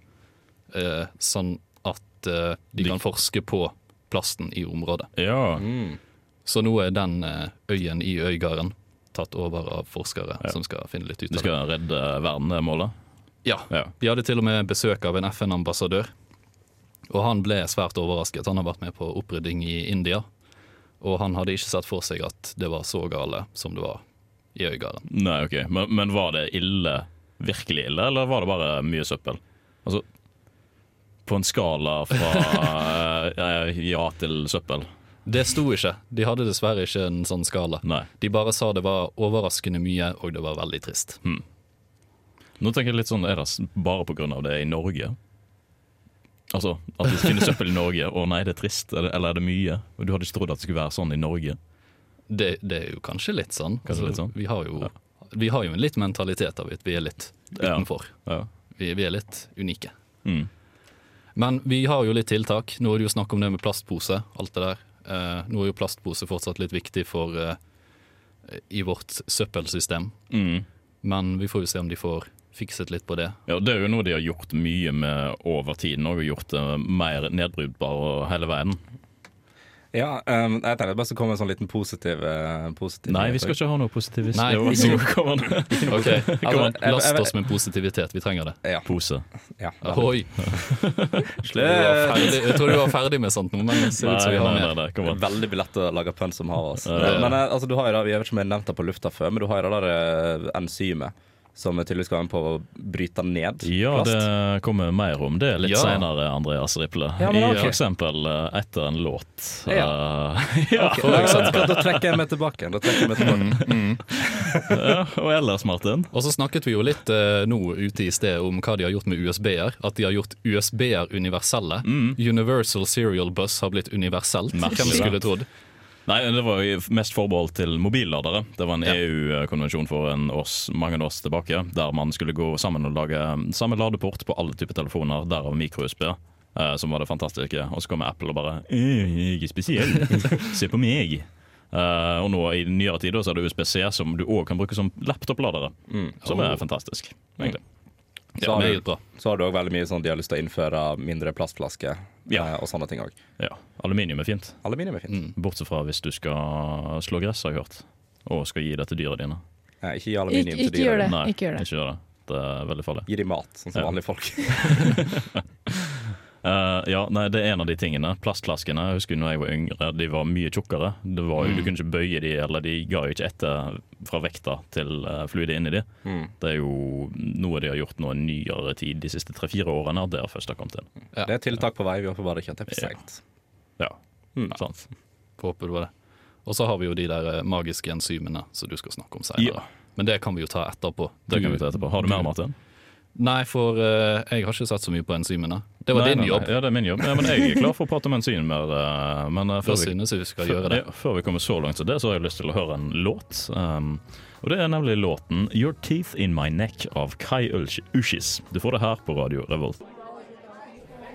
S1: Eh, sånn at eh, de kan forske på plasten i området.
S2: Ja.
S1: Så nå er den eh, øyen i Øygarden tatt over av forskere som skal finne litt ut
S2: Du
S1: av det.
S2: skal redde verden, det er målet?
S1: Ja.
S2: Ja.
S1: De hadde til og med besøk av en FN-ambassadør, og han ble svært overrasket. Han har vært med på opprydding i India, og han hadde ikke sett for seg at det var så gale som det var i Øygarden.
S2: Nei, ok. Men, men var det ille, virkelig ille, eller var det bare mye søppel? Altså, på en skala fra eh, ja til søppel?
S1: Det sto ikke. De hadde dessverre ikke en sånn skala.
S2: Nei.
S1: De bare sa det var overraskende mye, og det var veldig trist.
S2: Nå tenker jeg litt sånn, Er det s- bare pga. det i Norge? Altså, At det finnes søppel i Norge? Å nei, det er trist. er det- Eller er det mye? Du hadde ikke trodd at det skulle være sånn i Norge.
S1: Det, det er jo kanskje litt sånn.
S2: Kanskje litt sånn.
S1: Vi har jo Vi har jo en litt mentalitet av at vi er litt
S2: Ja.
S1: utenfor.
S2: Ja.
S1: Vi, vi er litt unike.
S2: Mm.
S1: Men vi har jo litt tiltak. Nå er det jo snakk om det med plastpose, alt det der. Eh, nå er jo plastpose fortsatt litt viktig for eh, i vårt søppelsystem.
S2: Mm.
S1: Men vi får jo se om de får fikset litt på det.
S2: Ja, Det er jo noe de har gjort mye med over tiden, og gjort det mer nedbrytbar hele veien.
S4: Ja, ehm, jeg tenkte bare så kom en sånn liten positiv, eh, positiv
S2: Nei, vi skal ikke ha noe positivist.
S1: Nei,
S2: Jo,
S1: ikke-
S2: jo, kom an.
S1: Ok,
S2: Kom
S1: altså,
S2: an.
S1: Last oss med positivitet, vi trenger det.
S4: Ja,
S2: Pose.
S4: ja,
S1: Oi, du var ferdig. Jeg tror du var ferdig med sånt nå, men det ser
S2: Nei,
S1: ut som vi har
S2: nei, nei,
S1: mer.
S2: nei, kom an.
S4: Veldig lett å lage pønn som har oss.
S2: Ja.
S4: Men eh, altså, du har jo da, jeg vet ikke om jeg har nevnt det på lufta før, men du har jo det der eh, enzymet som tydeligvis skal være med på å bryte ned
S2: Ja,
S4: plast.
S2: det kommer mer om det litt
S1: Ja.
S2: senere, Andreas Riple.
S4: Ja, men
S2: I
S4: ok.
S2: for eksempel eh, etter en låt.
S4: Ja.
S2: Eh, ja.
S4: Ok, da, da, da trekker jeg meg tilbake. igjen, Da trekker jeg meg tilbake.
S2: ja. Og ellers, Martin?
S1: Og så snakket vi jo litt eh, nå ute i sted om hva de har gjort med USB-er. At de har gjort USB-er universelle. Universal Serial Bus har blitt universelt. Hvem
S2: Mm. Merkelig.
S1: skulle trodd?
S2: Nei, det var jo mest forbeholdt til mobilladere. Det var en
S1: Ja.
S2: EU-konvensjon for en års, mange års tilbake, der man skulle gå sammen og lage eh, samme ladeport på alle typer telefoner, derav mikro-USB. eh, Som var det fantastiske. Og så kommer Apple og bare «Øh, Jeg er spesiell. Se på meg. Eh, og nå i nyere tider så er det USB-C, som du òg kan bruke som laptopladere. Som er fantastisk, egentlig.
S4: Så har
S1: Meget
S4: du-
S1: bra.
S4: så har du òg veldig mye sånn de har lyst til å innføre mindre plastflasker
S2: Ja.
S4: eh, og sånne ting òg.
S2: Ja, Aluminium er fint.
S4: Aluminium er fint.
S2: Bortsett fra hvis du skal slå gress, har jeg hørt. Og skal gi det til dyra dine.
S4: Eh, ikke gi
S3: Ikke,
S4: aluminium
S3: ikke
S4: til
S3: gjør
S4: dyra.
S3: det.
S2: Nei,
S3: Ikke gjør det.
S2: Ikke gjør det. Det er veldig farlig.
S4: Gi dem mat, sånn som
S2: Ja.
S4: vanlige folk.
S2: Eh, ja, nei, Det er en av de tingene. Plastflaskene jeg husker når jeg var yngre, de var mye tjukkere. Det var, jo-
S1: Mm.
S2: Du kunne ikke bøye de, eller de ga jo ikke etter fra vekta til eh, fluidet inni de.
S1: Mm.
S2: Det er jo noe de har gjort nå i nyere tid, de siste tre-fire årene. at Det har først har kommet inn.
S1: Ja.
S4: Det er tiltak på vei, vi håper bare ikke at det er for
S2: Ja.
S4: seint.
S2: Ja,
S1: Mm.
S2: sant.
S1: Får Håpe det var det. Og så har vi jo de der eh, magiske enzymene som du skal snakke om
S2: Ja.
S1: senere. Men det kan vi jo ta etterpå.
S2: Det kan
S1: Du-
S2: vi ta etterpå. Har du mer, Martin?
S1: Nei, for eh, jeg har ikke sett så mye på enzymene. Det var
S2: Nei,
S1: din
S2: nei, nei.
S1: jobb.
S2: Ja, det er min jobb. Ja, men jeg er klar for å prate om enzym mer. eh, Men eh,
S1: Da
S2: før vi
S1: synes jeg vi skal gjøre det.
S2: Ja, før vi kommer så langt som det, så har jeg lyst til å høre en låt. Um, og det er nemlig låten 'Your Teeth In My Neck' av Kai Ulsh- Ushis. Du får det her på Radio Revolt.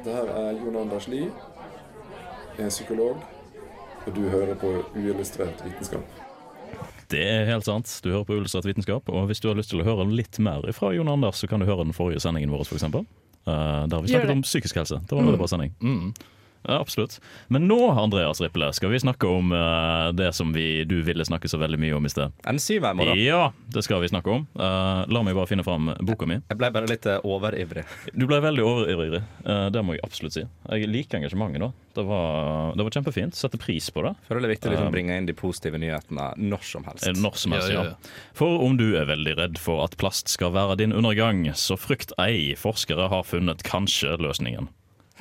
S10: Det her er Jon Anders Lie, jeg er psykolog, og du hører på Uillustrert vitenskap.
S2: Det er helt sant. Du hører på Ulstad vitenskap. Og hvis du har lyst til å høre litt mer fra Jon Anders, så kan du høre den forrige sendingen vår, f.eks. Uh, der vi
S3: Gjør
S2: snakket
S3: det.
S2: om psykisk helse. Det var en veldig bra sending.
S1: Mm.
S2: Ja, absolutt. Men nå, Andreas Riple, skal vi snakke om eh, det som vi, du ville snakke så veldig mye om i sted.
S4: Enzym er morgen.
S2: Ja, det skal vi snakke om. Eh, la meg bare finne fram boka mi.
S4: Jeg ble bare litt eh, overivrig.
S2: Du ble veldig overivrig. Eh, Det må jeg absolutt si. Jeg liker engasjementet. da. Det var, det var kjempefint. Setter pris på det.
S4: Føler det er viktig å
S2: Um,
S4: liksom, bringe inn de positive nyhetene når som helst.
S2: Eh, Når som helst,
S1: Ja, ja,
S2: ja,
S1: ja.
S2: For om du er veldig redd for at plast skal være din undergang, så frykt ei. Forskere har funnet kanskje løsningen.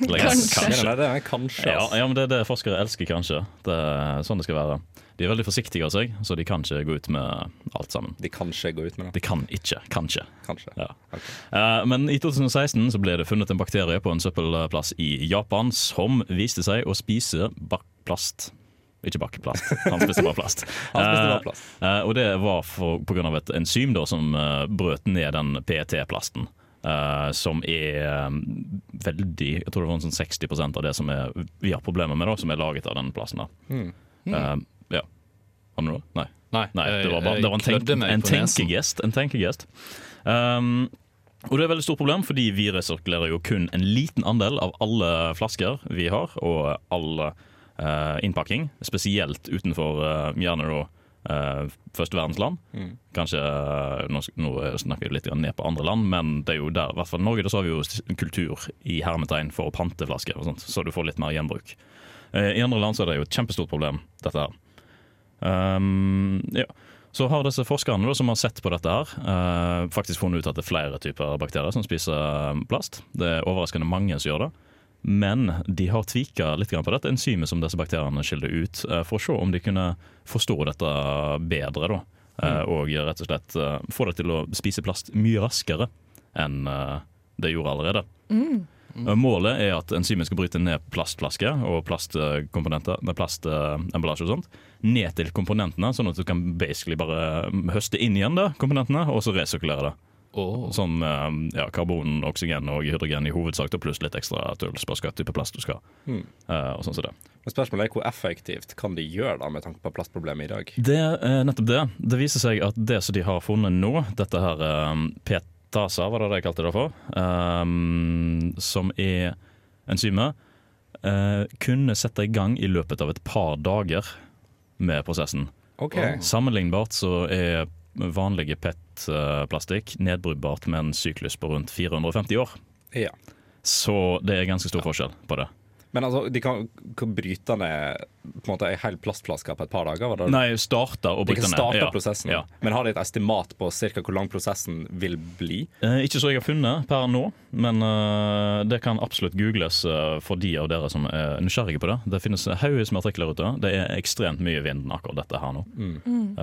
S2: Legges-
S3: Kanskje.
S4: Nei, nei, nei, det er kanskje. altså.
S2: Ja,
S4: ass.
S2: ja, men det er det forskere elsker, kanskje. Det er sånn det skal være. De er veldig forsiktige av seg, så de kan ikke gå ut med alt sammen.
S4: De kanskje går ut med det.
S2: De kan ikke, kanskje.
S4: Kanskje.
S2: Ja.
S4: Ok.
S2: Eh, Men i 2016 så ble det funnet en bakterie på en søppelplass i Japan som viste seg å spise bakplast. Ikke bakplast, han spiste bare plast.
S4: Han spiste bare plast.
S2: Eh, eh, og det var for, på grunn av et enzym da, som eh, brøt ned den PET-plasten. eh, som er eh, veldig Jeg tror det var en sånn 60 av det som er, vi har problemer med, da, som er laget av den plasten. Da.
S4: Hmm.
S2: Eh, ja. Har du noe? Nei.
S1: Nei,
S2: Nei, det var, bare,
S1: jeg-
S2: det var
S1: jeg
S2: en,
S1: Eh, klødde
S2: tenk,
S1: meg
S2: en
S1: på nesen.
S2: tenkegest. En tenkegest. Um, og det er et veldig stort problem, fordi vi resirkulerer jo kun en liten andel av alle flasker vi har, og all eh, innpakking. Spesielt utenfor eh, gjerne da eh, første verdensland.
S1: Mm.
S2: Kanskje eh, nå, sk- nå snakker jeg litt grann ned på andre land, men det er jo der, i hvert fall i Norge, da så har vi jo s- kultur i hermetegn for å pante flasker, og sånt, så du får litt mer gjenbruk. Eh, I andre land så er det jo et kjempestort problem, dette her. Um, ja. Så har disse forskerne da, som har sett på dette, her eh, faktisk funnet ut at det er flere typer bakterier som spiser eh, plast. Det er overraskende mange som gjør det. Men de har tvika litt grann på dette enzymet som disse bakteriene skiller ut, eh, for å se om de kunne forstå dette bedre. Da. Eh, og rett og slett eh, få det til å spise plast mye raskere enn eh, det gjorde allerede. Målet er at enzymet skal bryte ned plastflasker og plastkomponenter Nei, plastemballasje og sånt ned til komponentene, sånn at du kan basically bare høste inn igjen da, komponentene og så resirkulere det. Sånn eh, ja, karbon, oksygen og hydrogen i hovedsak, og pluss litt ekstra tull. Spørs hva type plast du skal ha.
S4: Hmm.
S2: eh, og sånn som det.
S4: Men spørsmålet er hvor effektivt kan de gjøre det med tanke på plastproblemet i dag?
S2: Det er nettopp det. Det viser seg at det som de har funnet nå, dette her um, PETASA, var det det jeg kalte det for, um, som er enzymet, eh, kunne sette i gang i løpet av et par dager med prosessen.
S4: Ok.
S2: Sammenlignbart så er vanlige PET-plastikk nedbrytbart med en syklus på rundt 450 år.
S4: Ja.
S2: Så det er ganske stor forskjell på det.
S4: Men altså, de kan, kan bryte ned på en måte ei hel plastflaske på et par dager? Var det?
S2: Nei, starte og
S4: De
S2: bryte
S4: kan
S2: ned.
S4: starte
S2: Ja,
S4: prosessen,
S2: ja.
S4: men har de et estimat på cirka hvor lang prosessen vil bli?
S2: Eh, ikke så jeg har funnet per nå, men eh, det kan absolutt googles eh, for de av dere som er nysgjerrige på det. Det finnes haugevis med artikler ute. Det er ekstremt mye i vinden akkurat dette her nå. Eh,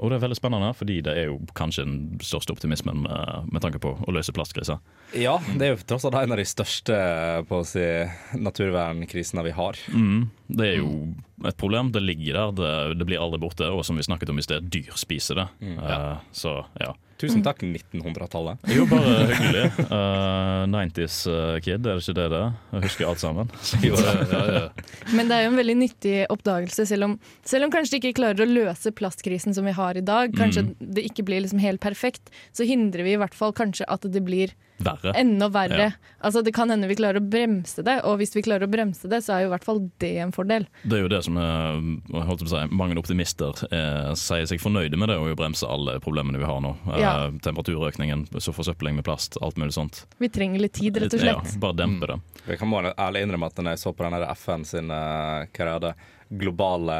S2: og det er veldig spennende, fordi det er jo kanskje den største optimismen eh, med, med tanke på å løse plastkrisa.
S4: Ja, det er jo tross alt en av de største eh, på å si, naturvernkrisene vi har.
S2: Mm. Det er jo et problem. Det ligger der, det, det blir aldri borte. Og som vi snakket om i sted, dyr spiser det. Eh, så ja.
S4: Tusen takk, 1900-tallet.
S2: Jo, bare hyggelig. Eh, 90s eh, kid, er det ikke det det er? Jeg husker alt sammen. Så, ja, ja.
S3: Men det er jo en veldig nyttig oppdagelse, selv om, selv om kanskje de ikke klarer å løse plastkrisen som vi har i dag, kanskje
S1: Mm.
S3: det ikke blir liksom helt perfekt, så hindrer vi i hvert fall kanskje at det blir
S2: Verre.
S3: enda verre.
S2: Ja.
S3: Altså Det kan hende vi klarer å bremse det, og hvis vi klarer å bremse det, så er jo i hvert fall det en fordel.
S2: Det er jo det som er, jeg holdt på å si, mange optimister eh, sier seg fornøyde med det, å jo bremse alle problemene vi har nå. Eh,
S3: Ja.
S2: Temperaturøkningen, så forsøpling med plast, alt mulig sånt.
S3: Vi trenger litt tid, rett og slett.
S2: Ja, bare dempe det.
S4: Jeg kan bare ærlig innrømme at når jeg så på den her FN sin eh, hva er det, globale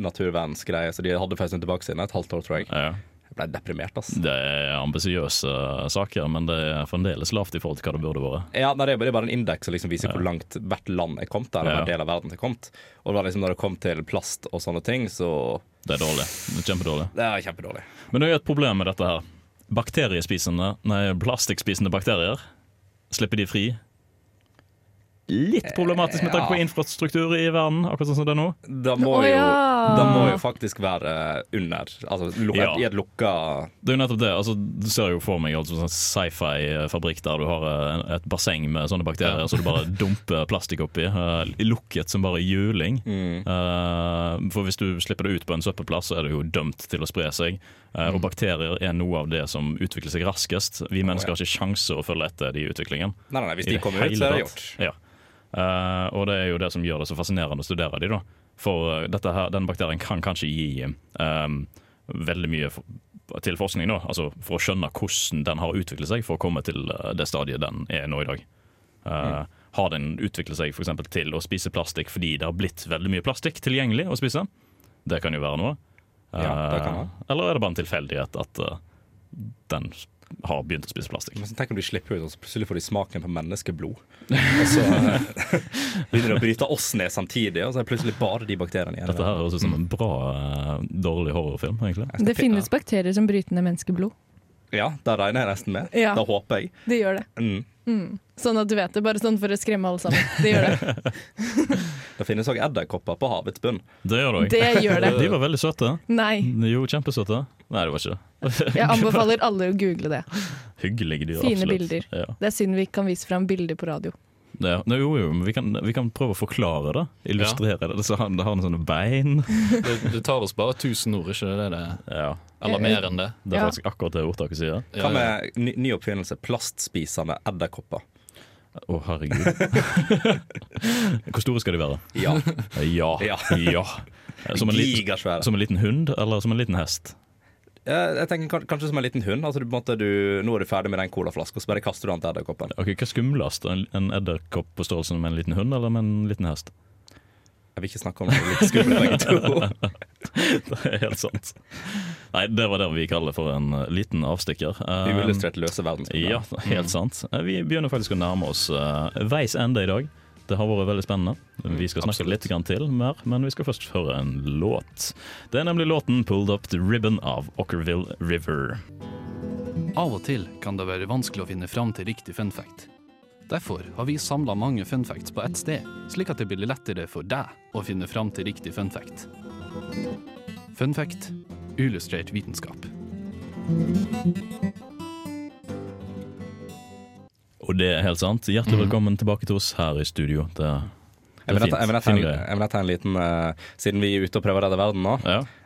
S4: naturvernsgreie, så de hadde for en stund tilbake siden, et halvt år, tror jeg.
S2: Ja.
S4: Jeg ble deprimert, ass.
S2: Det er ambisiøse saker, eh, men det er fremdeles lavt i forhold til hva det burde vært.
S4: Ja, nei, Det er bare- det er bare en indeks som liksom viser hvor langt hvert land er kommet. Der, eller
S2: Ja.
S4: hver del av verden er kommet. Og da liksom når det kom til plast og sånne ting, så
S2: Det er dårlig. Det er eh, Kjempedårlig.
S4: Det er kjempedårlig.
S2: Men det er jo et problem med dette her. Bakteriespisende, nei, plastikkspisende bakterier, slipper de fri? Litt problematisk med tanke på
S4: Ja.
S2: infrastruktur i verden, akkurat sånn som det er nå.
S4: Da må,
S3: Å,
S4: jo,
S3: ja.
S4: da må jo faktisk være under. Altså luk-
S2: Ja.
S4: i et lukka
S2: Det er jo nettopp det. altså Du ser jo for meg altså, sånn sci-fi-fabrikk der du har eh, et basseng med sånne bakterier som du bare dumper plastikk oppi. eh, Lukket som bare juling. Eh, For hvis du slipper det ut på en søppelplass, så er det jo dømt til å spre seg. Eh, Og bakterier er noe av det som utvikler seg raskest. Vi mennesker har ikke sjanse å følge etter de i utviklingen.
S4: Nei, nei, nei, hvis
S2: I
S4: de kommer ut,
S2: hele
S4: så er det
S2: tatt.
S4: gjort.
S2: Ja. Eh, og det er jo det som gjør det så fascinerende å studere de da. For eh, dette her, den bakterien kan kanskje gi ehm, veldig mye for, til forskning, da. Altså for å skjønne hvordan den har utviklet seg for å komme til eh, det stadiet den er nå i dag.
S4: Mm.
S2: Eh, Har den utviklet seg for eksempel til å spise plastikk fordi det har blitt veldig mye plastikk tilgjengelig å spise? Det kan jo være noe.
S4: Ja, det kan være.
S2: Eh, Eller er det bare en tilfeldighet at eh, den har begynt å spise plastikk?
S4: Men så tenk om de slipper ut, og så plutselig får de smaken på menneskeblod. Og så eh, begynner de å bryte oss ned samtidig, og så er det plutselig bare de bakteriene igjen.
S2: Dette her høres ut som en bra, eh, dårlig horrorfilm, egentlig.
S3: Det finnes bakterier som bryter ned menneskeblod.
S4: Ja, da regner jeg nesten med.
S3: Ja.
S4: Da håper jeg.
S3: Det gjør det.
S4: Mm.
S3: Sånn at du vet det, bare sånn for å skremme alle sammen. Det gjør det.
S4: Det finnes òg edderkopper på havets bunn.
S2: Det gjør det òg.
S3: Det gjør det.
S2: De var veldig søte.
S3: Nei.
S2: Jo, kjempesøte. Nei, det var ikke det.
S3: Jeg anbefaler alle å google det.
S2: Hyggelige dyr,
S3: Fine
S2: absolutt.
S3: bilder.
S2: Ja.
S3: Det er synd vi ikke kan vise fram bilder på radio.
S2: Det, Nei, jo, jo, men vi kan, vi kan prøve å forklare det. Illustrere det. Så han, det har noen sånne bein.
S11: Det, det tar oss bare 1000 ord, ikke det det er?
S2: Ja,
S11: Eller mer enn det.
S2: Det er
S3: Ja.
S2: faktisk akkurat det ordtaket sier. Å,
S11: Ja, ja.
S4: Hva med ny, ny oppfinnelse? Plastspisende edderkopper.
S2: herregud. Hvor store skal de være?
S4: Ja.
S2: Ja.
S4: Ja.
S2: Ah, ja. Som, en liten,
S4: Gigasvære.
S2: som en liten hund, eller som en liten hest?
S4: Eh, Jeg tenker kan- Kanskje som en liten hund. Altså, du, på en måte, du, nå er du ferdig med den colaflaska, og så bare kaster du den til edderkoppen.
S2: Ok, Hva er skumlest? En, en edderkopp på størrelse med en liten hund, eller med en liten hest?
S4: Jeg vil ikke snakke om det. Litt skumle begge to.
S2: Det er helt sant. Nei, det var det vi kaller for en eh, liten avstikker. Eh,
S4: Uillustrert løse verdensbilder.
S2: Ja, helt sant. Eh, Vi begynner faktisk å nærme oss eh, veis ende i dag. Det har vært veldig spennende.
S4: Mm,
S2: Vi skal snakke litt grann til mer, men vi skal først høre en låt. Det er nemlig låten 'Pulled Up The Ribbon' av Ockerville River.
S11: Av og til kan det være vanskelig å finne fram til riktig fun fact.
S1: Derfor har vi samla mange fun facts på ett sted, slik at det blir lettere for deg å finne fram til riktig fun fact. Fun fact illustrert vitenskap.
S2: Og det er helt sant.
S4: Mm.
S2: Hjertelig velkommen tilbake til oss her i studio. Det, det
S4: Jeg
S2: er
S4: vil
S2: fint.
S4: dette- jeg vil dette
S2: Fin
S4: en-
S2: greie.
S4: jeg vil dette en liten eh, Siden vi er ute og prøver å redde verden nå,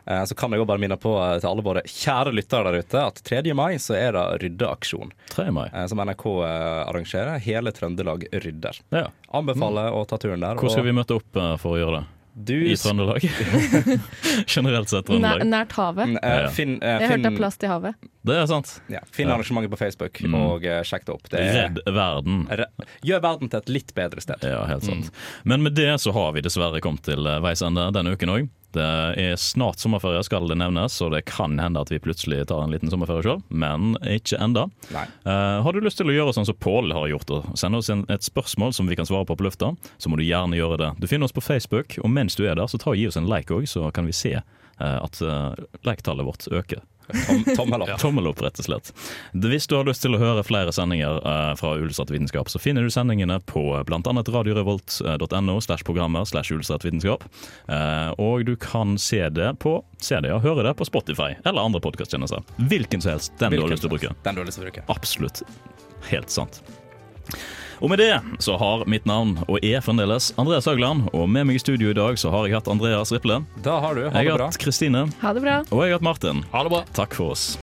S4: eh, så kan jeg jo bare minne på eh, til alle våre kjære lyttere der ute at 3. mai så er det ryddeaksjon.
S2: 3. Mai.
S4: Eh, som NRK eh, arrangerer. Hele Trøndelag rydder.
S2: Ja.
S4: Anbefaler å ta turen der.
S2: Mm. Hvor skal
S4: og-
S2: vi møte opp eh, for å gjøre det?
S4: Du-
S2: I Trøndelag? Generelt sett
S3: Nær,
S2: Trøndelag.
S3: nært havet.
S4: Mm, eh,
S2: Ja, ja.
S4: Finn, eh,
S3: Jeg
S4: finn-
S3: hørte det er plass til havet.
S2: Det er sant.
S4: Ja, finn
S2: Ja.
S4: arrangementet på Facebook
S2: Mm.
S4: og eh, sjekk det opp. Det er,
S2: Redd verden.
S4: Re- Gjør verden til et litt bedre sted.
S2: Ja, helt sant. Men med det så har vi dessverre kommet til eh, veis ende denne uken òg. Det er snart sommerferie, skal det nevnes, og det kan hende at vi plutselig tar en liten sommerferie sjøl, men ikke enda. Eh, har du lyst til å gjøre sånn som Pål har gjort, og sende oss en, et spørsmål som vi kan svare på på lufta, så må du gjerne gjøre det. Du finner oss på Facebook, og mens du er der, så ta og gi oss en like òg, så kan vi se eh, at uh, liketallet vårt øker.
S4: tommel opp.
S2: Tommel opp, rett og slett. Det- Hvis du har lyst til å høre flere sendinger eh, fra Ulstedt Vitenskap, så finner du sendingene på eh, bl.a. radiorevolt.no slash programmer slash Ulstedt Vitenskap. Eh, Og du kan se det på se det, ja, høre det på Spotify eller andre podkasttjenester. Hvilken som helst. Den du har
S4: Hvilken
S2: lyst til å bruke.
S4: Den du har lyst til å bruke.
S2: Absolutt. Helt sant. Og med det så har mitt navn, og er fremdeles, Andreas Haugland. Og med meg i studio i dag så har jeg hatt Andreas Riple.
S4: Da har du. Ha
S2: jeg
S4: det
S2: har
S4: bra.
S2: hatt Kristine.
S3: Ha det bra.
S2: Og jeg har hatt Martin. Ha det bra. Takk for oss.